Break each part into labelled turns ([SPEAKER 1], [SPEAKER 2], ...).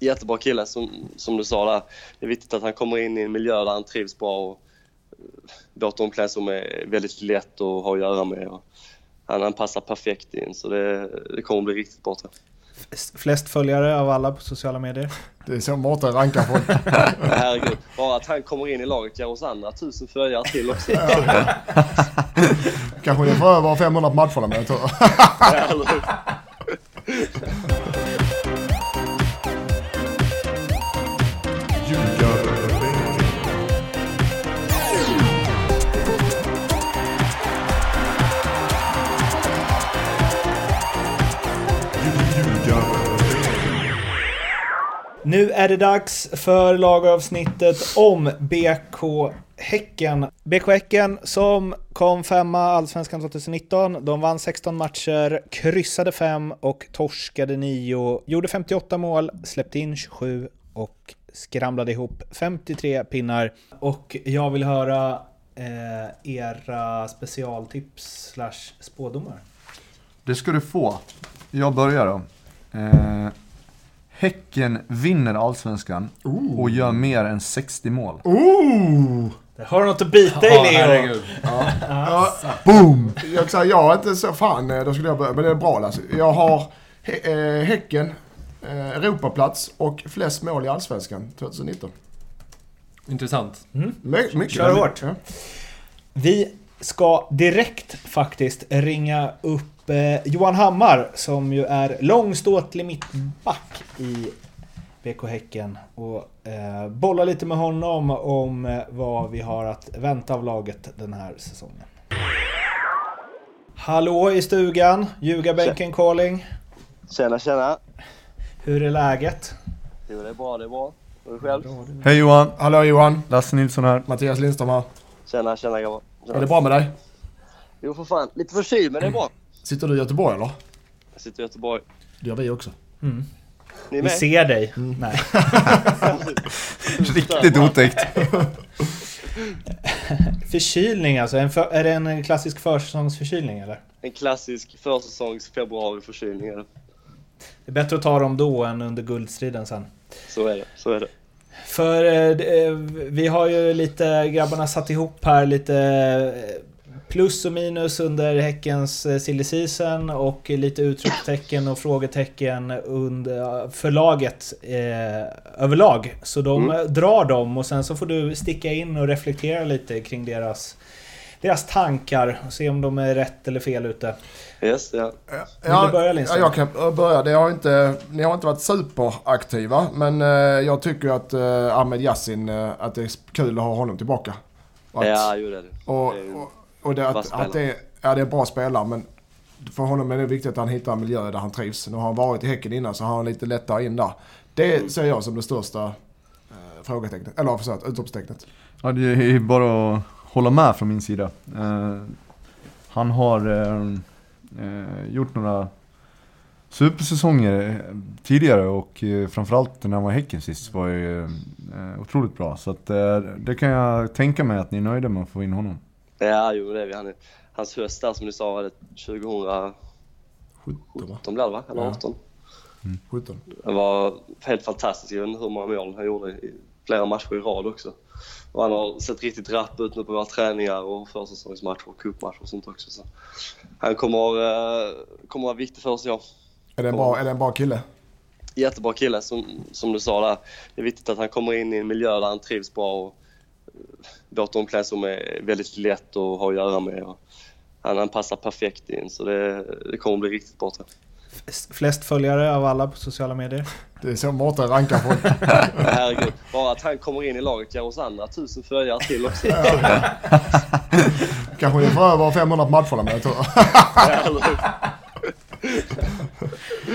[SPEAKER 1] jättebra kille som, som du sa där. Det är viktigt att han kommer in i en miljö där han trivs bra och eh, vårt omklädningsrum är väldigt lätt att ha att göra med. Och han, han passar perfekt in så det, det kommer bli riktigt bra tror jag.
[SPEAKER 2] Flest följare av alla på sociala medier.
[SPEAKER 3] Det är så Mårten rankar folk.
[SPEAKER 1] Herregud, bara att han kommer in i laget ger oss andra tusen följare till också.
[SPEAKER 3] Kanske det får över 500 på matcherna med jag tror.
[SPEAKER 2] Nu är det dags för lagavsnittet om BK Häcken. BK Häcken som kom femma Allsvenskan 2019. De vann 16 matcher, kryssade 5 och torskade 9. Gjorde 58 mål, släppte in 27 och skramlade ihop 53 pinnar. Och jag vill höra eh, era specialtips slash spådomar.
[SPEAKER 4] Det ska du få. Jag börjar då. Eh, häcken vinner allsvenskan och gör mer än 60 mål.
[SPEAKER 3] Ooh!
[SPEAKER 2] Det har du något att bita i Leo!
[SPEAKER 3] Ja,
[SPEAKER 2] Alltså.
[SPEAKER 3] boom! Jag, säga, jag är inte så fan, eh, då skulle jag börja. Men det är bra alltså. Jag har hä- eh, Häcken, eh, Europaplats och flest mål i Allsvenskan 2019.
[SPEAKER 5] Intressant.
[SPEAKER 3] My, mycket.
[SPEAKER 2] Kör hårt.
[SPEAKER 3] Ja.
[SPEAKER 2] Vi ska direkt faktiskt ringa upp eh, Johan Hammar som ju är långståtlig mittback i BK Häcken och eh, bolla lite med honom om eh, vad vi har att vänta av laget den här säsongen. Hallå i stugan, Ljugarbänken calling.
[SPEAKER 1] Tjena, tjena.
[SPEAKER 2] Hur är läget?
[SPEAKER 1] Jo, det är bra, det är bra. Och du själv?
[SPEAKER 4] Hej Johan!
[SPEAKER 3] Hallå Johan!
[SPEAKER 4] Lasse Nilsson här.
[SPEAKER 3] Mattias Lindström här.
[SPEAKER 1] Tjena, tjena grabbar.
[SPEAKER 3] Är det
[SPEAKER 1] Tjena.
[SPEAKER 3] bra med dig?
[SPEAKER 1] Jo, för fan. Lite förkyld, men det är bra.
[SPEAKER 3] Sitter du i Göteborg eller?
[SPEAKER 1] Jag sitter i Göteborg.
[SPEAKER 3] Det gör vi också.
[SPEAKER 1] Ni är
[SPEAKER 2] Vi
[SPEAKER 1] med?
[SPEAKER 2] ser dig. Nej.
[SPEAKER 4] Riktigt otäckt.
[SPEAKER 2] Förkylning alltså, en för, är det en klassisk försäsongsförkylning eller?
[SPEAKER 1] En klassisk försäsongs februariförkylning är det.
[SPEAKER 2] Det är bättre att ta dem då än under guldstriden sen.
[SPEAKER 1] Så är det. Så är det.
[SPEAKER 2] För eh, d- eh, vi har ju lite, grabbarna satt ihop här lite eh, plus och minus under Häckens eh, silly season och lite utropstecken och frågetecken under förlaget eh, överlag. Så de eh, drar dem och sen så får du sticka in och reflektera lite kring deras deras tankar och se om de är rätt eller fel ute.
[SPEAKER 1] Yes, ja.
[SPEAKER 2] du börja, Lindström?
[SPEAKER 3] Ja, jag kan jag börja. Det har inte, ni har inte varit superaktiva, men eh, jag tycker att eh, Ahmed Yassin, eh, att det är kul att ha honom tillbaka. Och att,
[SPEAKER 1] Ja, jo det är det.
[SPEAKER 3] och,
[SPEAKER 1] det är ju-
[SPEAKER 3] och, och det,
[SPEAKER 1] vass
[SPEAKER 3] att, att det, är, ja, det är en bra spelare, men för honom är det viktigt att han hittar en miljö där han trivs. Nu har han varit i Häcken innan, så har han lite lättare in där.
[SPEAKER 1] Mm.
[SPEAKER 3] Det ser jag som det största eh, frågetecknet, eller förlåt, utropstecknet.
[SPEAKER 4] Ja, det är bara att hålla med från min sida. Eh, han har eh, eh, gjort några supersäsonger eh, tidigare och eh, framförallt när han var i Häcken sist var ju eh, otroligt bra. Så att, eh, det kan jag tänka mig att ni är nöjda med att få in honom.
[SPEAKER 1] Ja, jo det är vi. Han är, hans höst där som ni sa, var det 2017
[SPEAKER 3] 17, va?
[SPEAKER 1] blev det va? Eller 18?
[SPEAKER 3] 17.
[SPEAKER 1] Det var helt fantastiskt. Jag vet inte hur många mål han gjorde i flera matcher i rad också. Och han har sett riktigt rapp ut nu på våra träningar och försäsongsmatcher och cupmatcher och sånt också. Så han kommer, eh, kommer vara viktig för oss i år.
[SPEAKER 3] Är det en bra, är det en bra kille?
[SPEAKER 1] jättebra kille som, som du sa där. Det är viktigt att han kommer in i en miljö där han trivs bra och eh, vårt omklädningsrum är väldigt lätt att ha att göra med. Och han, han passar perfekt in så det, det kommer bli riktigt bra tror jag.
[SPEAKER 2] F- Flest följare av alla på sociala medier.
[SPEAKER 3] Det är så Mårten rankar folk.
[SPEAKER 1] Herregud, bara att han kommer in i laget ger oss andra tusen följare till också.
[SPEAKER 3] Kanske det får över 500 på matcherna med jag tror.
[SPEAKER 2] Eh,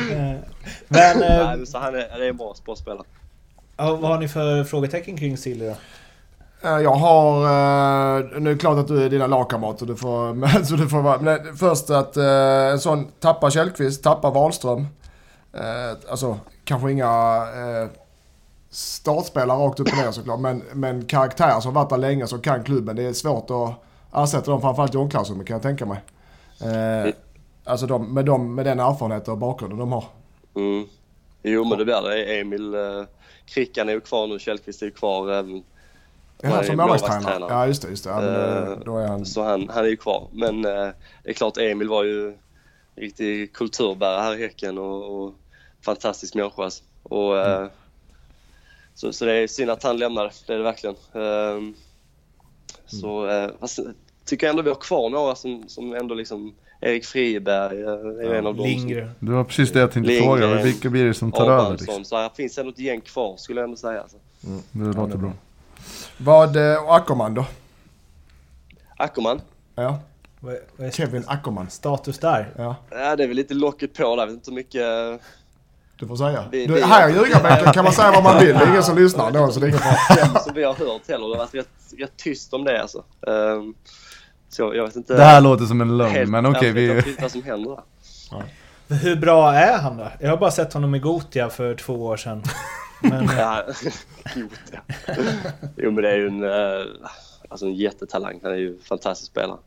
[SPEAKER 2] Men eh,
[SPEAKER 1] Nej, men så han är, det är en bra sportspelare.
[SPEAKER 2] Ja, vad har ni för frågetecken kring Silly då?
[SPEAKER 3] Eh, Jag har... eh, Nu är det klart att du är dina lagkamrater, du får, men- så du får vara... Men först att eh, en sån tappar Källqvist, tappar Wahlström. Eh, Alltså, kanske inga eh, startspelare rakt upp och ner såklart, men, men karaktärer som varit där länge som kan klubben. Det är svårt att ersätta dem, framförallt i omklädningsrummet kan jag tänka mig. Mm. Eh, Alltså de, med, de, med den erfarenheten och bakgrunden de har.
[SPEAKER 1] Mm. Jo, men det blir det. Emil, eh, Krickan är ju kvar nu, Källqvist är ju kvar. även-
[SPEAKER 3] Är han
[SPEAKER 1] Nej,
[SPEAKER 3] som målvaktstränare?
[SPEAKER 1] målvaktstränare.
[SPEAKER 3] Ja, just det. Just det. Ja, men,
[SPEAKER 1] Eh,
[SPEAKER 3] eh, då är han...
[SPEAKER 1] Så han, han är ju kvar. Men eh, det är klart, Emil var ju en riktig kulturbärare här i Häcken och, och fantastisk människa. alltså. Och, eh,
[SPEAKER 4] Mm.
[SPEAKER 1] så, så det är synd att han lämnade, det är det verkligen.
[SPEAKER 4] Mm.
[SPEAKER 1] Ehm, Så eh, fast, jag tycker ändå vi har kvar några som, som ändå liksom Erik Friberg eh, är ju en av dem. som-
[SPEAKER 2] Lindgren.
[SPEAKER 4] Det var precis det jag tänkte
[SPEAKER 1] Lindgren,
[SPEAKER 4] fråga. Vilka blir det som tar över? Liksom?
[SPEAKER 1] Abrahamsson. Så här finns ändå ett gäng kvar skulle jag ändå säga. Alltså.
[SPEAKER 4] Det låter bra.
[SPEAKER 3] Vad... eh, Och Ackerman då?
[SPEAKER 1] Ackerman?
[SPEAKER 3] Ja.
[SPEAKER 2] Vad- vad är
[SPEAKER 3] Kevin Ackerman.
[SPEAKER 2] Status där.
[SPEAKER 3] Ja,
[SPEAKER 1] Ja, det är väl lite locket på där. Jag vet inte hur mycket... eh,
[SPEAKER 3] du får säga.
[SPEAKER 1] Vi-
[SPEAKER 3] Du,
[SPEAKER 1] vi-
[SPEAKER 3] här i ljugarbänken kan man säga vad man vill. Det är ingen som lyssnar då, så det är ingen fara.
[SPEAKER 1] som vi har hört heller. Det har varit rätt, rätt tyst om det alltså. Ehm, så jag vet inte.
[SPEAKER 4] Det här låter som en lögn,
[SPEAKER 1] helt-
[SPEAKER 4] men okej.
[SPEAKER 1] jag vet
[SPEAKER 4] vi...
[SPEAKER 1] inte riktigt vad som händer där.
[SPEAKER 2] Hur bra är han då? Jag har bara sett honom i Gotia för två år sedan. Men eh,
[SPEAKER 1] Ja, idiot, ja. Jo men det är ju en, eh, alltså en jättetalang. Han är ju en fantastisk spelare.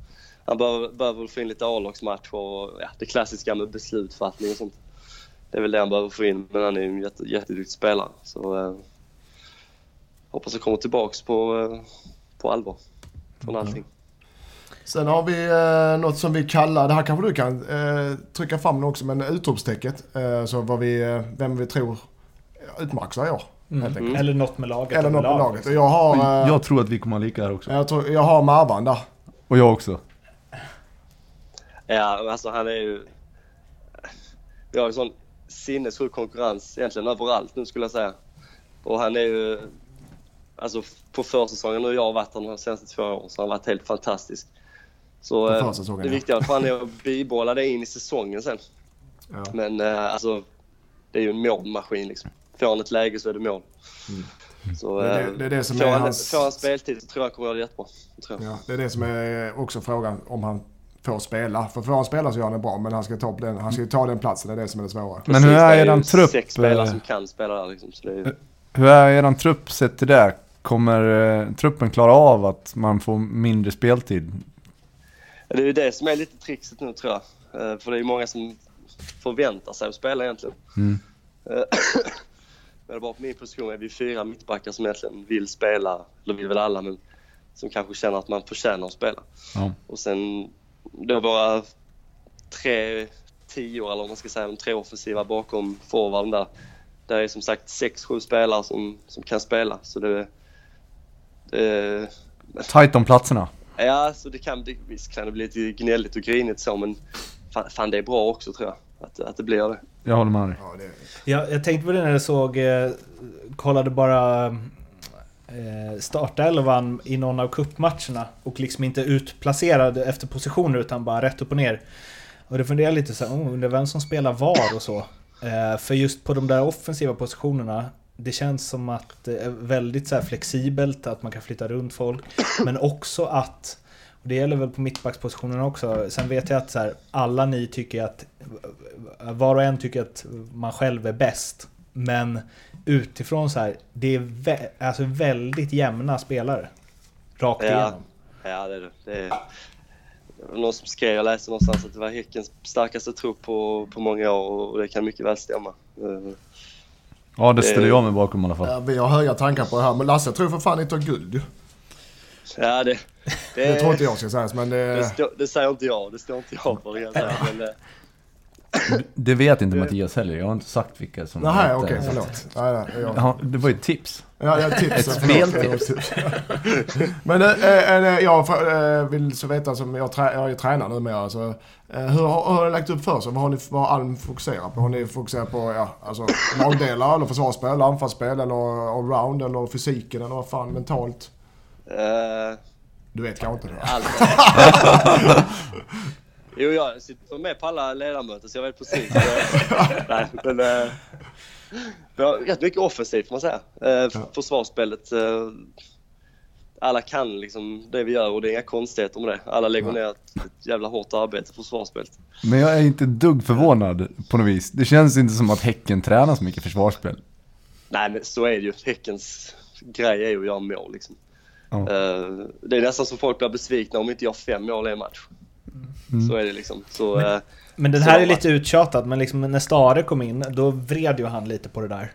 [SPEAKER 1] Han behöver, behöver väl få in lite A-lagsmatcher och ja, det klassiska med beslutsfattning och sånt. Det är väl det han behöver få in, men han är ju en jätte, jätteduktig spelare. Så eh, hoppas han kommer tillbaks på, eh, på allvar från allting.
[SPEAKER 3] Sen har vi eh, något som vi kallar, det här kanske du kan eh, trycka fram nu också, men utropstecket. Eh, så vad vi, eh, vem vi tror utmaxar i år. Helt enkelt.
[SPEAKER 2] Eller något med laget.
[SPEAKER 3] Eller något på
[SPEAKER 2] överlag.
[SPEAKER 3] Mm. laget. Och jag har, eh,
[SPEAKER 4] Jag tror att vi kommer ha lika här också.
[SPEAKER 3] jag, tror, jag har Marwan där.
[SPEAKER 4] Och jag också.
[SPEAKER 1] Ja, men alltså han är ju... Vi har ju sån sinnessjuk konkurrens egentligen överallt nu skulle jag säga. Och han är ju... Alltså på försäsongen, nu har jag varit här de senaste två åren, så han har varit helt fantastisk. Så
[SPEAKER 3] På
[SPEAKER 1] eh,
[SPEAKER 3] försäsongen,
[SPEAKER 1] det
[SPEAKER 3] ja.
[SPEAKER 1] viktiga för han är att bibehålla det in i säsongen sen.
[SPEAKER 3] Ja.
[SPEAKER 1] Men eh, alltså, det är ju en målmaskin liksom. Får han ett läge så är det mål. Så,
[SPEAKER 3] Mm. Det är det-
[SPEAKER 1] eh,
[SPEAKER 3] det är det som
[SPEAKER 1] får,
[SPEAKER 3] är
[SPEAKER 1] han,
[SPEAKER 3] hans-
[SPEAKER 1] får han speltid så tror jag han kommer göra det jättebra. Det Tror jag.
[SPEAKER 3] Ja, det är det som är också frågan om han får spela. För får han spela så gör han det bra, men han ska ta, den, han ska ju ta den platsen. Det är det som är det svåra.
[SPEAKER 4] Men hur
[SPEAKER 1] Precis,
[SPEAKER 4] är
[SPEAKER 1] det ju
[SPEAKER 4] eran trupp?
[SPEAKER 1] sex spelare
[SPEAKER 4] eh,
[SPEAKER 1] som kan spela där liksom. Så det är ju...
[SPEAKER 4] Hur är eran trupp sett till det? Kommer eh, truppen klara av att man får mindre speltid?
[SPEAKER 1] Ja, Det är ju det som är lite trixet nu tror jag. Eh, För det är ju många som förväntar sig att spela egentligen.
[SPEAKER 4] Mm.
[SPEAKER 1] Eh, Men bara på min position är vi fyra mittbackar som egentligen vill spela, eller vill väl alla, men som kanske känner att man förtjänar att spela.
[SPEAKER 4] Ja.
[SPEAKER 1] Och sen då våra tre tior, eller om man ska säga de tre offensiva bakom forwarden där. Där är som sagt sex, sju spelare som, som kan spela. Så det, det,
[SPEAKER 4] Tajt om platserna.
[SPEAKER 1] Ja, så det kan, det, visst kan det bli lite gnälligt och grinigt så, men fan, fan det är bra också tror jag. Att, att det blir det.
[SPEAKER 4] Jag håller med dig.
[SPEAKER 3] Ja, det,
[SPEAKER 2] Jag, jag tänkte på det när jag såg, eh, kollade bara eh, startelvan i någon av cupmatcherna och liksom inte utplacerad efter positioner utan bara rätt upp och ner. Och då funderade jag lite så här, oh, undrar vem som spelar var och så. Eh, för just på de där offensiva positionerna, det känns som att det är väldigt så här flexibelt, att man kan flytta runt folk. Men också att, och det gäller väl på mittbackspositionerna också, sen vet jag att så här, alla ni tycker att, var och en tycker att man själv är bäst. Men utifrån så här, det är vä- alltså väldigt jämna spelare. Rakt
[SPEAKER 1] Ja,
[SPEAKER 2] igenom.
[SPEAKER 1] ja det är det. det. Är, det var någon som skrev, jag läste någonstans att det var Häckens starkaste trupp på, på många år och det kan mycket väl stämma. Eh,
[SPEAKER 4] Ja, det ställer jag mig bakom i alla fall.
[SPEAKER 3] ja, vi har höga tankar på det här, men Lasse jag tror för fan ni tar guld ju.
[SPEAKER 1] Ja, det, det,
[SPEAKER 3] Det tror inte jag ska sägas, men
[SPEAKER 1] Eh,
[SPEAKER 3] eh,
[SPEAKER 1] det,
[SPEAKER 3] det,
[SPEAKER 1] står- det säger inte jag, det står inte jag för det kan jag säga. Men, eh,
[SPEAKER 6] Det vet inte Mattias heller. Jag har inte sagt vilka som...
[SPEAKER 3] Nej,
[SPEAKER 6] hette-
[SPEAKER 3] okej, förlåt. Nej, nej, jag,
[SPEAKER 4] Ja, det var ju ett tips.
[SPEAKER 3] Ja, jag tips.
[SPEAKER 6] Ett
[SPEAKER 3] Förlåt,
[SPEAKER 6] speltips.
[SPEAKER 3] Men eh, eh, eh, jag fra- eh, vill så veta, som jag, trä, jag är ju tränare numera, så, eh, hur, har- hur har ni lagt upp för sig? Vad har ni vad har Alm fokuserat på? Har ni fokuserat på ja, alltså, lagdelar, eller försvarsspel, eller anfallsspel, eller allround, eller fysiken, eller vad fan, mentalt?
[SPEAKER 1] eh,
[SPEAKER 3] Du vet kanske inte det? va?
[SPEAKER 1] Allt. jo, jag sitter med på alla ledamöter så jag vet precis. Nej, men, eh, vi har rätt mycket offensivt får man säga. Eh, Försvarsspelet. Eh, alla kan liksom det vi gör och det är inga konstigheter med det. Alla lägger ner ett, ett jävla hårt arbete på försvarsspelet.
[SPEAKER 4] Men jag är inte ett dugg förvånad på något vis. Det känns inte som att Häcken tränar så mycket försvarsspel.
[SPEAKER 1] Nej, men så är det ju. Häckens grej är ju att göra mål liksom.
[SPEAKER 4] Ja.
[SPEAKER 1] Eh, det är nästan som folk blir besvikna om inte jag har fem mål i en match. Så är det liksom. Så,
[SPEAKER 2] Men-
[SPEAKER 1] eh,
[SPEAKER 2] Men den
[SPEAKER 1] Så
[SPEAKER 2] här
[SPEAKER 1] de
[SPEAKER 2] är
[SPEAKER 1] bara-
[SPEAKER 2] lite uttjatad, men liksom när Stare kom in, då vred ju han lite på det där.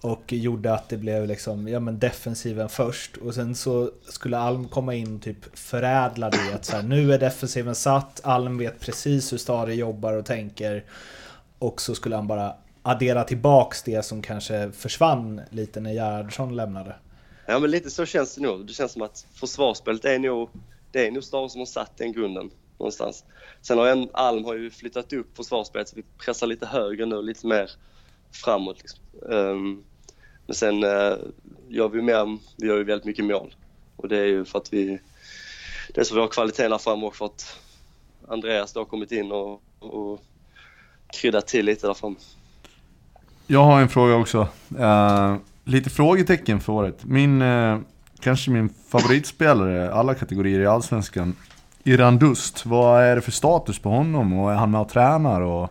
[SPEAKER 2] Och gjorde att det blev liksom, ja men defensiven först och sen så skulle Alm komma in och typ förädla det att så här, nu är defensiven satt, Alm vet precis hur Stare jobbar och tänker. Och så skulle han bara addera tillbaks det som kanske försvann lite när Gerhardsson lämnade.
[SPEAKER 1] ja, men lite så känns det nog. Det känns som att försvarsspelet är nog, det är nog Stare som har satt den grunden någonstans. Sen har en, Alm har ju flyttat upp försvarsspelet så vi pressar lite högre nu, lite mer framåt. Liksom. Ehm, men sen eh, gör vi mer, vi gör ju väldigt mycket mål och det är ju för att vi, det är så vi har kvaliteten där framme och för att Andreas då har kommit in och, och kryddat till lite där framme.
[SPEAKER 4] Jag har en fråga också. Eh, lite frågetecken för året. Min, eh, kanske min favoritspelare i alla kategorier i Allsvenskan, Irandust. Vad är det för status på honom och är han med och tränar? Och...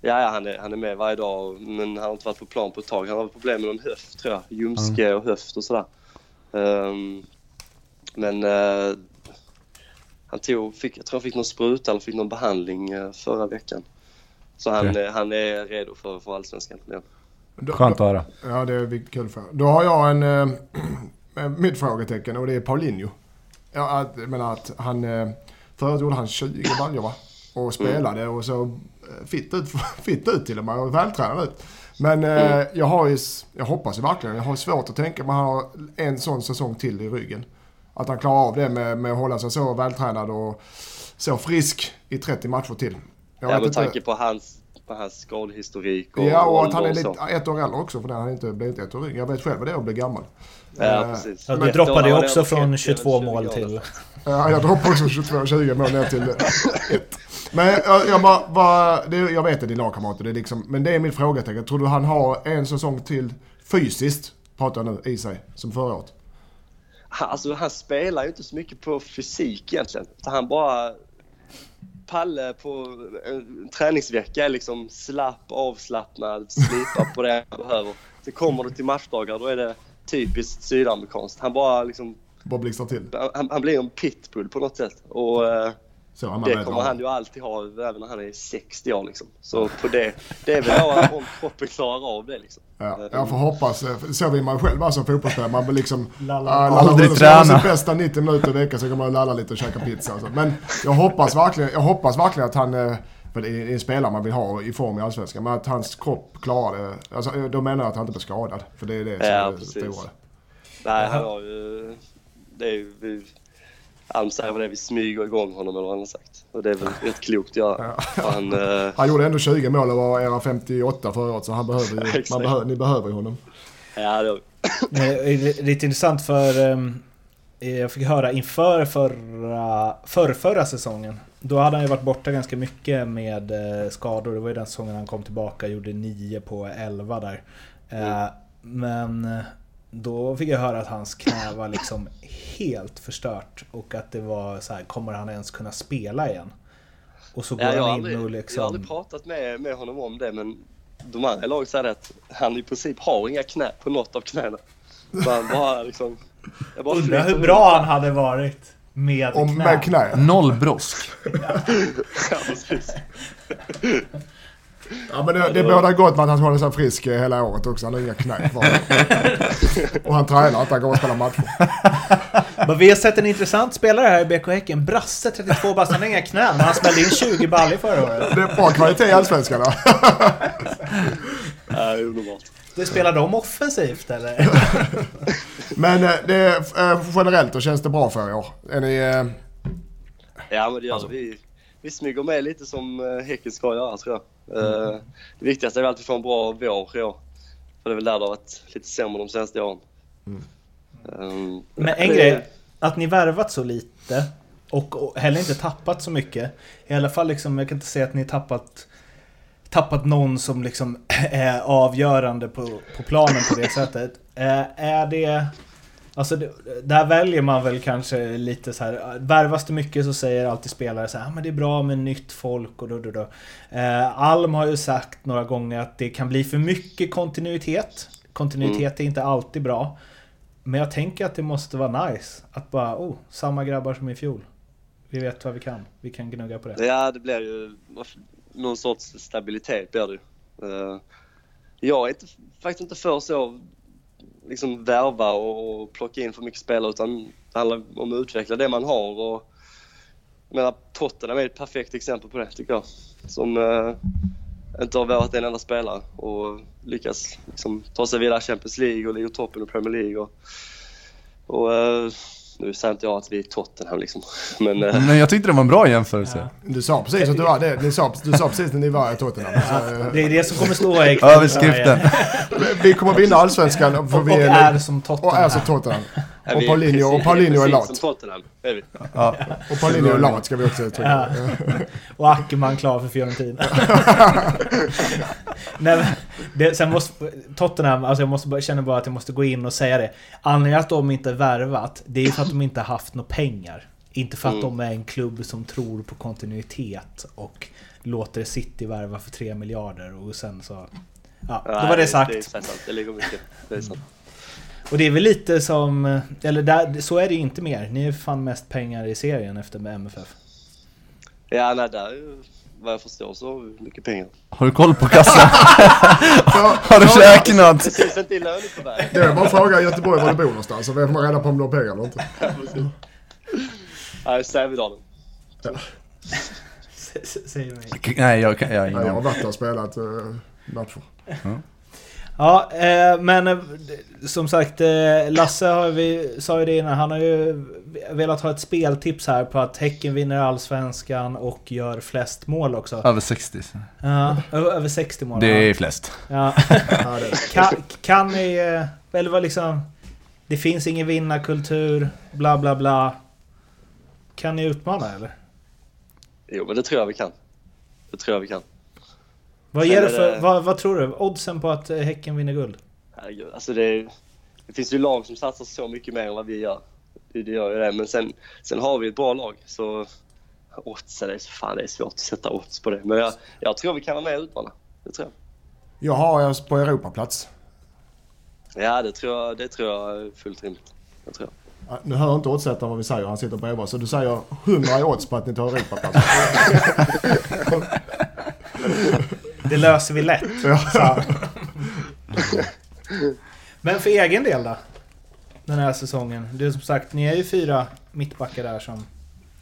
[SPEAKER 1] Ja, ja han, är, han är med varje dag, men han har inte varit på plan på ett tag. Han har problem med någon höft, tror jag. Ljumske och höft och sådär. Ehm, men eh, han tog, fick, jag tror han fick någon spruta eller fick någon behandling eh, förra veckan. Så han, eh, han är redo för, för allsvenskan. Ja.
[SPEAKER 3] Då-
[SPEAKER 6] Skönt att höra.
[SPEAKER 3] Ja, det är viktigt kul för. Då har jag en... eh, mitt frågetecken och det är Paulinho. Ja, att, jag menar att han... eh, Förra året gjorde han 20 baljor va? Och spelade och så eh, fitt ut, fitt ut till och med och vältränad ut. Men eh, jag har ju, s- jag hoppas ju verkligen, jag har svårt att tänka mig att han har en sån säsong till i ryggen. Att han klarar av det med, med att hålla sig så vältränad och så frisk i 30 matcher till. Jag
[SPEAKER 1] Ja,
[SPEAKER 3] vet
[SPEAKER 1] med
[SPEAKER 3] inte-
[SPEAKER 1] tanke på hans, på hans skadhistorik och
[SPEAKER 3] Ja, och att han är
[SPEAKER 1] ålder och
[SPEAKER 3] lite,
[SPEAKER 1] så.
[SPEAKER 3] ett år äldre också för den han har inte blivit ett år yngre. Jag vet själv vad det är att bli gammal.
[SPEAKER 1] Ja,
[SPEAKER 3] Eh,
[SPEAKER 1] precis.
[SPEAKER 2] Ja,
[SPEAKER 1] Men-
[SPEAKER 2] du droppade ju
[SPEAKER 1] Då var det
[SPEAKER 2] också
[SPEAKER 1] över
[SPEAKER 2] från
[SPEAKER 1] 30,
[SPEAKER 2] 22
[SPEAKER 1] över 20
[SPEAKER 2] mål
[SPEAKER 1] grader.
[SPEAKER 2] till...
[SPEAKER 3] eh, jag droppar också 22-20 mål ner till eh, ett. Men jag, jag, bara, bara, det, jag vet att din lagkamrat, det är liksom, men det är min frågetecken. Tror du han har en säsong till fysiskt, pratar jag nu, i sig, som förra året?
[SPEAKER 1] han, alltså, han spelar ju inte så mycket på fysik egentligen. Utan han bara... Palle på en träningsvecka är liksom slapp, avslappnad, slipar på det han behöver. Sen kommer du till matchdagar, då är det typiskt sydamerikanskt. Han bara liksom...
[SPEAKER 3] Bara blixtrar till.
[SPEAKER 1] Han, han blir en pitbull på något sätt. Och eh,
[SPEAKER 3] Så han
[SPEAKER 1] det kommer han ju alltid ha, även när han är 60 år liksom. Så på det, det är väl då om kroppen klarar av det liksom.
[SPEAKER 3] Ja, jag får hoppas. eh, för Så vill man själv vara som fotbollsspelare. Man blir liksom...
[SPEAKER 2] Lalla.
[SPEAKER 3] Ah,
[SPEAKER 4] Aldrig
[SPEAKER 3] runt. Så gör man
[SPEAKER 4] träna.
[SPEAKER 3] sitt bästa 90 minuter i veckan, så kan man lalla lite och käka pizza och så. Men jag hoppas verkligen, jag hoppas verkligen att han... eh, För det är en spelare man vill ha i form i Allsvenskan. Men att hans kropp klarar det. Alltså, eh, då menar jag att han inte blir skadad. För det är det som
[SPEAKER 1] Ja,
[SPEAKER 3] är det
[SPEAKER 1] precis.
[SPEAKER 3] stora.
[SPEAKER 1] Nej, han har ju... Det är ju vi, Alm säger väl det, vi smyger igång honom eller vad han har sagt. Och det är väl rätt klokt att göra. Och Han, eh,
[SPEAKER 3] Han gjorde ändå 20 mål och var era 58 förra året, så han behöver ju, man
[SPEAKER 1] Exakt.
[SPEAKER 3] behöver, ni behöver ju honom.
[SPEAKER 1] ja, det,
[SPEAKER 2] Det är lite intressant för ehm, jag fick höra inför förra, förrförra säsongen. Då hade han ju varit borta ganska mycket med eh, skador. Det var ju den säsongen han kom tillbaka och gjorde 9 på 11 där. Eh,
[SPEAKER 1] Mm.
[SPEAKER 2] Men eh, då fick jag höra att hans knä var liksom helt förstört och att det var så här, kommer han ens kunna spela igen? Och så går
[SPEAKER 1] ja, jag, har
[SPEAKER 2] han in och
[SPEAKER 1] aldrig, jag har
[SPEAKER 2] liksom...
[SPEAKER 1] aldrig pratat med, med honom om det, men de andra i laget säger att han i princip har inga knä på något av knäna. Så han bara liksom... Jag bara
[SPEAKER 2] Undrar hur
[SPEAKER 1] flyter
[SPEAKER 2] bra han hade varit med
[SPEAKER 3] Om
[SPEAKER 2] knä.
[SPEAKER 3] med knä.
[SPEAKER 4] Noll brosk.
[SPEAKER 1] runt. Ja, precis.
[SPEAKER 3] Ja, men det, det bådar gott med att han håller sig frisk eh, hela året också. Han har inga knä kvar. Och han tränar inte, han går och spelar matcher.
[SPEAKER 2] Men vi har sett en intressant spelare här i BK Häcken. Brasse, 32 bast, han har inga knän, men han smällde in 20 baller förra året.
[SPEAKER 3] Det är bra kvalitet i Allsvenskan. va?
[SPEAKER 1] Ja, det är underbart.
[SPEAKER 2] Det spelar de offensivt eller?
[SPEAKER 3] Men eh, det är, eh, generellt då känns det bra för er i år. Är ni, eh,
[SPEAKER 1] Ja, men det gör vi. Vi smyger med lite som eh, Häcken ska göra, tror jag. Eh, Det viktigaste är väl att vi får en bra vår i år. För det är väl där det har varit lite sämre de senaste åren. Ehm,
[SPEAKER 2] Men en
[SPEAKER 1] det-
[SPEAKER 2] grej, att ni värvat så lite och och heller inte tappat så mycket. I alla fall liksom, jag kan inte säga att ni tappat tappat någon som liksom är avgörande på, på planen på det sättet. Eh, är det... Alltså det, där väljer man väl kanske lite så här. Värvas det mycket så säger alltid spelare så här, ah, men det är bra med nytt folk och då, då, då. Eh, Alm har ju sagt några gånger att det kan bli för mycket kontinuitet. Kontinuitet är inte alltid bra. Men jag tänker att det måste vara nice att bara, oh, samma grabbar som i fjol. Vi vet vad vi kan. Vi kan gnugga på det.
[SPEAKER 1] Ja, det blir ju någon sorts stabilitet blir det ju. Eh, Jag är inte, faktiskt inte för så liksom värva och plocka in för mycket spelare utan det handlar om att utveckla det man har. Och, jag menar, Tottenham är ett perfekt exempel på det tycker jag. Som eh, inte har värvat en enda spelare och lyckas liksom, ta sig vidare i Champions League och ligger i toppen i Premier League. Och, och, eh, nu säger inte jag att vi är Tottenham liksom, men eh,
[SPEAKER 4] Men jag tyckte det var en bra jämförelse.
[SPEAKER 2] Ja.
[SPEAKER 3] Du sa precis att du var det. Du sa, du sa precis när ni var i Tottenham. Så, eh,
[SPEAKER 2] Det är det som kommer slå er.
[SPEAKER 4] Överskriften.
[SPEAKER 3] vi kommer vinna allsvenskan. För
[SPEAKER 2] Och, och
[SPEAKER 3] vi
[SPEAKER 2] är som
[SPEAKER 3] och är så
[SPEAKER 2] Tottenham.
[SPEAKER 3] Tottenham.
[SPEAKER 1] Ja,
[SPEAKER 3] Och
[SPEAKER 1] vi är
[SPEAKER 3] Paulinho- och
[SPEAKER 1] precis-
[SPEAKER 3] Paulinho är
[SPEAKER 1] precis
[SPEAKER 3] lat.
[SPEAKER 1] som Tottenham, är vi.
[SPEAKER 4] Ja.
[SPEAKER 3] Och Paulinho är lat ska vi också trycka.
[SPEAKER 2] Ja. Och Ackerman klar för Fiorentina. Nej, men det, sen måste, Tottenham, alltså jag måste, bara- känner bara att jag måste gå in och säga det. Anledningen att de inte värvat, det är ju för att de inte har haft några pengar. Inte för att
[SPEAKER 1] Mm.
[SPEAKER 2] de är en klubb som tror på kontinuitet och låter City värva för 3 miljarder och sen så... Ja, då var
[SPEAKER 1] Nej,
[SPEAKER 2] det sagt.
[SPEAKER 1] Det är sant, det ligger mycket. Det är sant.
[SPEAKER 2] Och det är väl lite som... Eller där, så är det ju inte mer. Ni är fan mest pengar i serien efter med MFF.
[SPEAKER 1] Ja, nej, där är ju- vad jag förstår så har vi mycket pengar.
[SPEAKER 4] Har du koll på kassan? Har du räknat?
[SPEAKER 1] Precis, inte i lönekuvertet.
[SPEAKER 3] Det är bara att fråga i Göteborg var du bor någonstans. Så får man reda på om du har pengar eller inte.
[SPEAKER 1] Nej, Sävedalen.
[SPEAKER 2] S- s- Säger mig.
[SPEAKER 4] Nej, jag, kan- jag har
[SPEAKER 3] Nej, jag
[SPEAKER 4] ingen
[SPEAKER 3] har
[SPEAKER 4] aning.
[SPEAKER 3] varit där och spelat eh, matcher.
[SPEAKER 2] Ja, eh, men eh, som sagt eh, Lasse har vi, sa ju det innan, han har ju velat ha ett speltips här på att Häcken vinner allsvenskan och gör flest mål också.
[SPEAKER 4] Över 60.
[SPEAKER 2] Ja, ö- över 60 mål.
[SPEAKER 4] Det
[SPEAKER 2] ja.
[SPEAKER 4] är flest.
[SPEAKER 2] Ja.
[SPEAKER 3] Ja, det är-
[SPEAKER 2] Kan, kan ni, eh, eller vad liksom, det finns ingen vinnarkultur, bla bla bla. Kan ni utmana eller?
[SPEAKER 1] Jo, men det tror jag vi kan. Det tror jag vi kan.
[SPEAKER 2] Vad, ger det
[SPEAKER 1] Eller-
[SPEAKER 2] för, vad, vad tror du? Oddsen på att eh, Häcken vinner guld?
[SPEAKER 1] Herregud, alltså det, är- det finns ju lag som satsar så mycket mer än vad vi gör. Det, det gör ju det, men sen, sen har vi ett bra lag. Så oddsen, det är, så- fan det är svårt att sätta odds på det. Men jag, jag tror vi kan vara med och utmana. Det tror jag.
[SPEAKER 3] Jag har oss på Europaplats.
[SPEAKER 1] Ja, det tror jag, det tror jag är fullt rimligt. Det tror jag.
[SPEAKER 3] Ja, Nu hör inte oddsättaren vad vi säger. Han sitter bredvid oss. Så du säger 100 i odds på att ni tar Europaplats.
[SPEAKER 2] Det löser vi lätt. sa han. Men för egen del då? Den här säsongen. Det är som sagt, ni är ju fyra mittbackar där som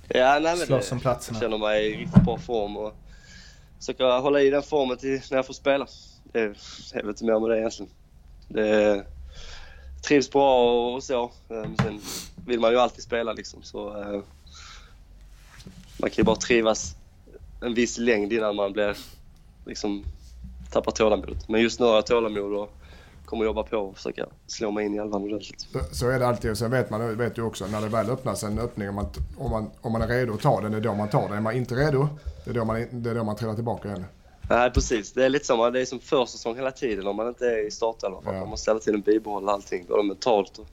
[SPEAKER 1] Ja, nej, men
[SPEAKER 2] slåss om
[SPEAKER 1] det, jag
[SPEAKER 2] platserna.
[SPEAKER 1] känner mig i riktigt bra form och försöker hålla i den formen till när jag får spela. Det är, jag vet inte mer med det egentligen. Det är, trivs bra och, och så. Eh, men Sen vill man ju alltid spela liksom. Så, eh, man kan ju bara trivas en viss längd innan man blir, liksom, tappar tålamodet. Men just nu har jag tålamod och kommer jobba på och försöka slå mig in i elvan ordentligt.
[SPEAKER 3] Så- Så är det alltid. Och sen vet man vet ju också när det väl öppnas en öppning. Om man, om man, om man är redo att ta den, det är då man tar den. Är man inte redo, det är då man, det är då man trillar tillbaka igen.
[SPEAKER 1] Nej, precis. Det är lite samma. Det är som försäsong hela tiden om man inte är i startelvan.
[SPEAKER 3] Ja.
[SPEAKER 1] Man måste hela tiden bibehålla allting, både mentalt och,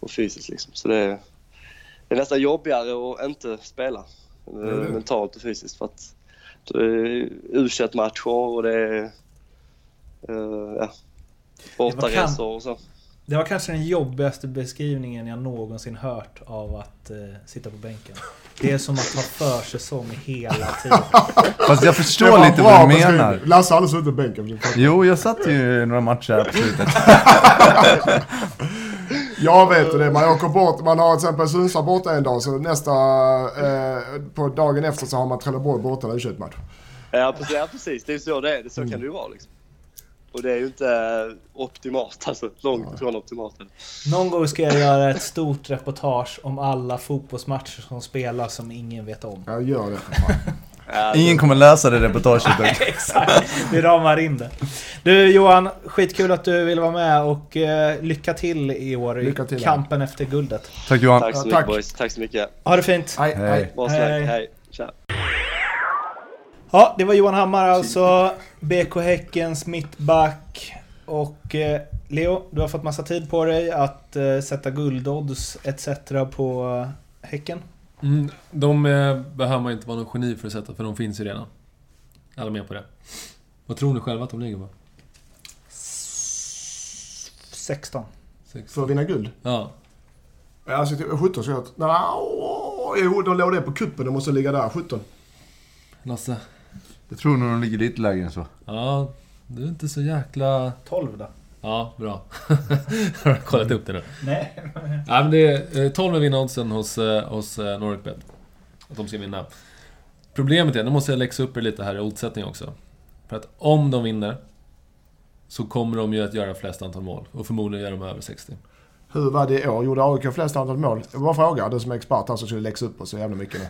[SPEAKER 1] och fysiskt. Liksom. Så det är, det är nästan jobbigare att inte spela eh,
[SPEAKER 3] det.
[SPEAKER 1] mentalt och fysiskt. För att det är u matcher och det är eh, ja,
[SPEAKER 2] vad kan-
[SPEAKER 1] bortaresor och så.
[SPEAKER 2] Det var kanske den jobbigaste beskrivningen jag någonsin hört av att eh, sitta på bänken. Det är som att ha försäsong hela tiden.
[SPEAKER 4] Fast jag
[SPEAKER 3] Det
[SPEAKER 4] förstår
[SPEAKER 3] var
[SPEAKER 4] lite
[SPEAKER 3] bra
[SPEAKER 4] vad du
[SPEAKER 3] beskrivning.
[SPEAKER 4] menar.
[SPEAKER 3] Lasse har aldrig suttit på bänken.
[SPEAKER 4] Jo, jag satt ju i några matcher här på slutet.
[SPEAKER 3] Jag vet det. Man åker bort. Man har till exempel Sundsvall borta en dag. Så nästa... Eh, på dagen efter så har man Trelleborg borta en U21-match.
[SPEAKER 1] Ja, precis. Ja, precis. Det är ju så det är.
[SPEAKER 3] Mm.
[SPEAKER 1] Så kan det ju vara. Liksom. Och det är ju inte eh, optimalt. Alltså, långt ifrån optimalt.
[SPEAKER 2] Någon gång ska jag göra ett stort reportage om alla fotbollsmatcher som spelas som ingen vet om.
[SPEAKER 3] Jag gör det för fan.
[SPEAKER 1] Ja,
[SPEAKER 4] Ingen kommer läsa det reportaget.
[SPEAKER 2] Exakt, vi ramar in det. Du Johan, skitkul att du ville vara med och eh, lycka till i år
[SPEAKER 3] Lycka till,
[SPEAKER 2] i
[SPEAKER 3] ja.
[SPEAKER 2] kampen efter guldet.
[SPEAKER 4] Tack Johan.
[SPEAKER 1] Tack så
[SPEAKER 3] Ja,
[SPEAKER 1] mycket
[SPEAKER 3] tack.
[SPEAKER 1] boys. Tack så mycket.
[SPEAKER 2] Ha det fint!
[SPEAKER 3] Nej,
[SPEAKER 4] Hej.
[SPEAKER 3] nej.
[SPEAKER 1] Bra
[SPEAKER 2] Hej.
[SPEAKER 1] snack. Hej. Tja.
[SPEAKER 2] Ja, det var Johan Hammar alltså, BK Häckens mittback. Och eh, Leo, du har fått massa tid på dig att eh, sätta guldodds etc. på eh, Häcken.
[SPEAKER 5] Mm, de eh, behöver man inte vara någon geni för att sätta, för de finns ju redan. Alla med på det. Vad tror ni själva att de ligger på?
[SPEAKER 2] 16.
[SPEAKER 5] Sex.
[SPEAKER 3] För att vinna guld?
[SPEAKER 5] Ja.
[SPEAKER 3] Ja, Alltså, typ 17 ska jag... Nej, åh, jo, de låg det på kuppen. De måste ligga där, 17.
[SPEAKER 5] Lasse.
[SPEAKER 4] Jag tror nog de ligger lite lägre än så.
[SPEAKER 5] Ja, du är inte så jäkla...
[SPEAKER 2] 12 då?
[SPEAKER 5] Ja, bra. Har du kollat upp det nu?
[SPEAKER 2] Nej.
[SPEAKER 5] Ja, men det är eh, 12 är vinnaroddsen hos, eh, hos eh, Nordicbet. Att de ska vinna. Problemet är, nu måste jag läxa upp er lite här i oddsättning också. För att om de vinner så kommer de ju att göra flest antal mål. Och förmodligen gör de över 60.
[SPEAKER 3] Hur var det i år? Gjorde AIK flest antal mål? Jag bara frågar, du som är expert här som skulle läxa upp oss så jävla mycket nu.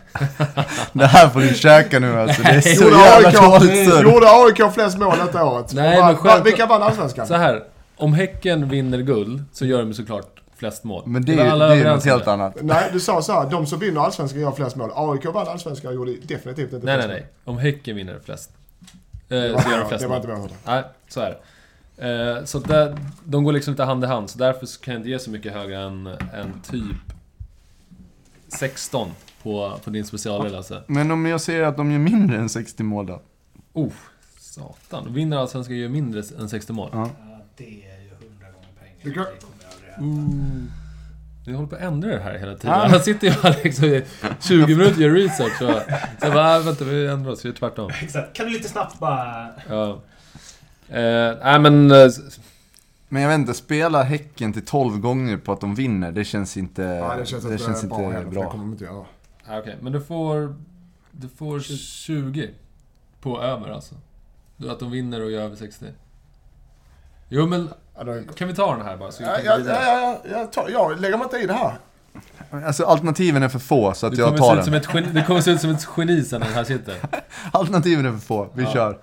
[SPEAKER 4] Det här får du käka nu alltså. Det är så
[SPEAKER 3] Gjorde
[SPEAKER 4] jävla
[SPEAKER 3] AIK,
[SPEAKER 4] dåligt surr.
[SPEAKER 3] gjorde AIK flest mål detta året?
[SPEAKER 5] Nej,
[SPEAKER 3] Va-
[SPEAKER 5] men
[SPEAKER 3] va-
[SPEAKER 5] själv-
[SPEAKER 3] Vilka vann allsvenskan?
[SPEAKER 5] Så här, om Häcken vinner guld så gör de ju såklart flest mål.
[SPEAKER 4] Men det
[SPEAKER 5] var
[SPEAKER 4] är,
[SPEAKER 5] alla
[SPEAKER 4] det är
[SPEAKER 5] överens
[SPEAKER 4] något
[SPEAKER 5] om
[SPEAKER 4] helt
[SPEAKER 5] det.
[SPEAKER 4] annat.
[SPEAKER 3] Nej, du sa så här, de som vinner allsvenskan gör flest mål. AIK vann allsvenskan och gjorde definitivt inte
[SPEAKER 5] Nej, nej,
[SPEAKER 3] flest
[SPEAKER 5] nej. Om Häcken vinner flest.
[SPEAKER 3] mål.
[SPEAKER 5] Eh, så gör de flest
[SPEAKER 3] Det var
[SPEAKER 5] mål.
[SPEAKER 3] inte vad jag hörde.
[SPEAKER 5] Nej, så är det. Eh, så där, de går liksom inte hand i hand, så därför så kan jag inte ge så mycket högre än, än typ 16 på, på din specialare Lasse.
[SPEAKER 4] Men om jag säger att de gör mindre än 60 mål då?
[SPEAKER 5] Oh, satan. Vinner Allsvenskan gör mindre än 60 mål.
[SPEAKER 4] Ja.
[SPEAKER 2] Det är ju 100 gånger pengar.
[SPEAKER 3] Det kan-
[SPEAKER 2] kommer aldrig hända.
[SPEAKER 5] Vi håller på att ändra det här hela tiden. Här sitter jag liksom i 20 minuter och gör research och sen bara, äh, vänta vi ändrar oss, vi gör tvärtom.
[SPEAKER 2] Exakt. Kan du lite snabbt bara...
[SPEAKER 5] Ja. Eh, nej men... eh,
[SPEAKER 4] Men jag vet inte, spela Häcken till 12 gånger på att de vinner, det känns inte,
[SPEAKER 3] Nej, det känns, inte bra. heller, för Det kommer de inte göra.
[SPEAKER 5] Nej, Okej, men du får... Du får 20 på över alltså. Du, att de vinner och gör över 60. Jo men,
[SPEAKER 3] Ja, då-
[SPEAKER 5] kan vi ta den här bara så vi
[SPEAKER 3] Ja,
[SPEAKER 5] kan
[SPEAKER 3] ja,
[SPEAKER 5] gå
[SPEAKER 3] ja,
[SPEAKER 5] vidare?
[SPEAKER 3] ja, ja, jag tar- jag lägger mig inte i det här.
[SPEAKER 4] Alltså alternativen är för få, så att
[SPEAKER 5] Du
[SPEAKER 4] jag
[SPEAKER 5] kommer, se
[SPEAKER 4] tar
[SPEAKER 5] ut som
[SPEAKER 4] den.
[SPEAKER 5] ett geni, du kommer se ut som ett geni sen när den här sitter.
[SPEAKER 4] Alternativen är för få, vi
[SPEAKER 5] Ja.
[SPEAKER 4] kör.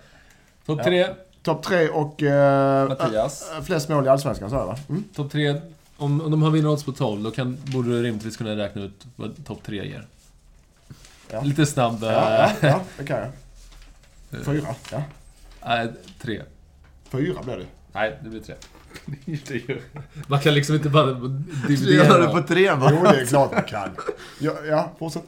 [SPEAKER 5] Topp tre,
[SPEAKER 3] Topp tre och... eh,
[SPEAKER 5] Mattias.
[SPEAKER 3] eh, flest mål i Allsvenskan, sa jag va? Mm.
[SPEAKER 5] Topp tre, om, om de har vinnerodds på 12, då kan, borde du rimligtvis kunna räkna ut vad topp tre ger.
[SPEAKER 3] Ja.
[SPEAKER 5] Lite snabb...
[SPEAKER 3] Ja, ja,
[SPEAKER 5] eh,
[SPEAKER 3] ja, det kan jag. Fyra, ja.
[SPEAKER 5] Nej, tre.
[SPEAKER 3] Fyra blev det.
[SPEAKER 5] Nej, det blir tre. Man kan liksom inte bara
[SPEAKER 4] Vi gör det på
[SPEAKER 5] dividera.
[SPEAKER 4] tre bara.
[SPEAKER 3] Jo, det är klart man kan. Ja, ja fortsätt.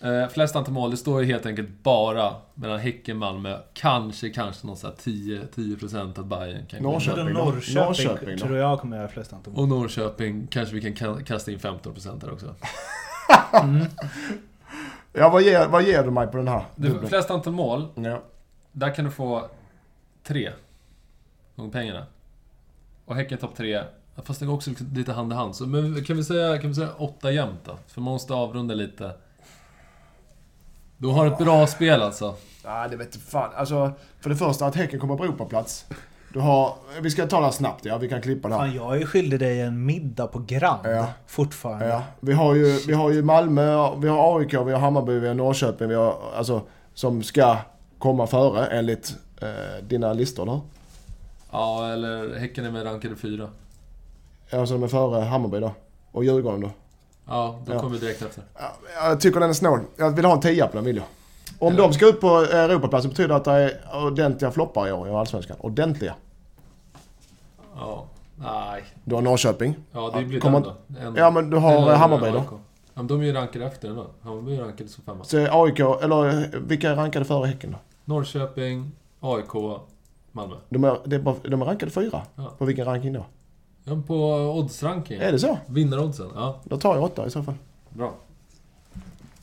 [SPEAKER 5] Eh, flest antal mål, det står ju helt enkelt bara mellan Häcken, Malmö, kanske, kanske någon sån här 10, 10% att Bayern kan gå in.
[SPEAKER 3] Norrköping.
[SPEAKER 2] Norrköping,
[SPEAKER 3] då.
[SPEAKER 2] Norrköping
[SPEAKER 3] Norrköping då.
[SPEAKER 2] tror jag kommer göra flest antal mål.
[SPEAKER 5] Och Norrköping, kanske vi kan ka- kasta in 15% där också.
[SPEAKER 3] Ja, vad ger, vad ger du mig på den här?
[SPEAKER 5] Du, flest antal mål,
[SPEAKER 3] Ja.
[SPEAKER 5] där kan du få 3 gånger pengarna. Och Häcken topp 3, fast det går också liksom lite hand i hand. Så, men kan vi säga, kan vi säga 8 jämnt då? För man måste avrunda lite. Du har ett bra spel alltså.
[SPEAKER 3] Nej, det vet fan. Alltså, för det första att Häcken kommer på Europaplats. Du har... Vi ska ta det här snabbt, ja. Vi kan klippa det här.
[SPEAKER 2] Fan, jag är ju skyldig dig en middag på Grand
[SPEAKER 3] Ja.
[SPEAKER 2] fortfarande.
[SPEAKER 3] Ja, vi har ju, vi har ju Malmö, vi har AIK, vi har Hammarby, vi har Norrköping, vi har, alltså, som ska komma före enligt eh, dina listor då.
[SPEAKER 5] Ja, eller Häcken är med rankade 4.
[SPEAKER 3] Alltså de är före Hammarby då. Och Djurgården då.
[SPEAKER 5] Ja, då
[SPEAKER 3] Ja.
[SPEAKER 5] kommer vi direkt efter.
[SPEAKER 3] Ja, Jag tycker den är snål. Jag vill ha en tia på den vill jag. Om de ska upp på eh, Europaplatsen betyder det att det är ordentliga floppar i år i Allsvenskan. Ordentliga.
[SPEAKER 5] Ja, nej.
[SPEAKER 3] Du har Norrköping.
[SPEAKER 5] Ja, det blir
[SPEAKER 3] kommer-
[SPEAKER 5] den då. En-
[SPEAKER 3] Ja, men du har,
[SPEAKER 5] eller
[SPEAKER 3] eh, Hammarby
[SPEAKER 5] AIK.
[SPEAKER 3] då?
[SPEAKER 5] Ja, men de är ju rankade efter ändå. Hammarby är rankade som femma.
[SPEAKER 3] Så är AIK, eller eh, vilka är rankade före Häcken då?
[SPEAKER 5] Norrköping, AIK, Malmö.
[SPEAKER 3] De är, det är bara, de är rankade fyra.
[SPEAKER 5] Ja.
[SPEAKER 3] På vilken ranking då?
[SPEAKER 5] Ja, men på oddsranking.
[SPEAKER 3] Är det så?
[SPEAKER 5] Vinnaroddsen, ja.
[SPEAKER 3] Då tar jag åtta i så fall.
[SPEAKER 5] Bra.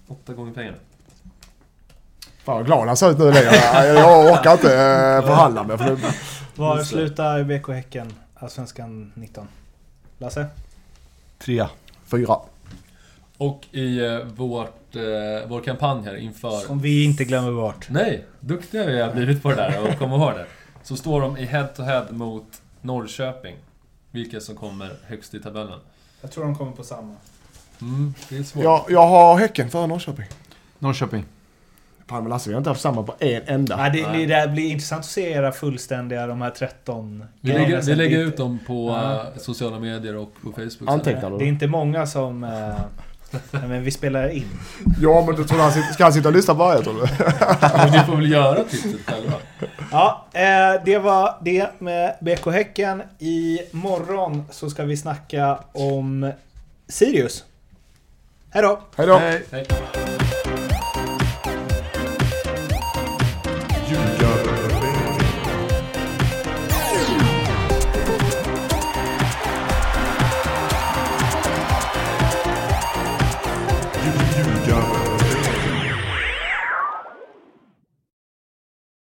[SPEAKER 5] Åtta gånger pengarna.
[SPEAKER 3] Fan vad glad han ser ut nu längre. Jag, jag orkar inte eh, förhandla med för det-
[SPEAKER 2] Var
[SPEAKER 5] Just det.
[SPEAKER 2] slutar BK Häcken Allsvenskan 19? Lasse?
[SPEAKER 4] Tre.
[SPEAKER 3] Fyra.
[SPEAKER 5] Och i eh, vårt, eh, vår kampanj här inför...
[SPEAKER 2] Som vi inte glömmer bort.
[SPEAKER 5] Nej! Duktiga vi har blivit på det där och kommer ihåg det. Så står de i head-to-head mot Norrköping. Vilka som kommer högst i tabellen.
[SPEAKER 2] Jag tror de kommer på samma.
[SPEAKER 5] Mm, det är svårt.
[SPEAKER 3] Jag, jag har Häcken före Norrköping.
[SPEAKER 4] Norrköping.
[SPEAKER 3] Fan men Lasse, vi har inte haft samma på en enda.
[SPEAKER 2] Nej, Ah, det, det där blir intressant att se era fullständiga, de här 13
[SPEAKER 5] Vi lägger,
[SPEAKER 2] grejerna
[SPEAKER 5] vi
[SPEAKER 2] sen.
[SPEAKER 5] lägger
[SPEAKER 2] Det är
[SPEAKER 5] ut dem på
[SPEAKER 2] Ja.
[SPEAKER 5] eh, sociala medier och på Facebook. sen.
[SPEAKER 3] Antecknar
[SPEAKER 2] inte- Det är
[SPEAKER 3] du?
[SPEAKER 2] inte många som... Eh, nej, men vi spelar in.
[SPEAKER 3] Ja men du tror han sitter, ska han sitta och lyssna på varje tror du?
[SPEAKER 5] Men Ni får väl göra tipset själva.
[SPEAKER 2] Ja, eh, det var det med BK Häcken. Imorgon så ska vi snacka om Sirius. Hej då!
[SPEAKER 3] Hej då!
[SPEAKER 5] Hej.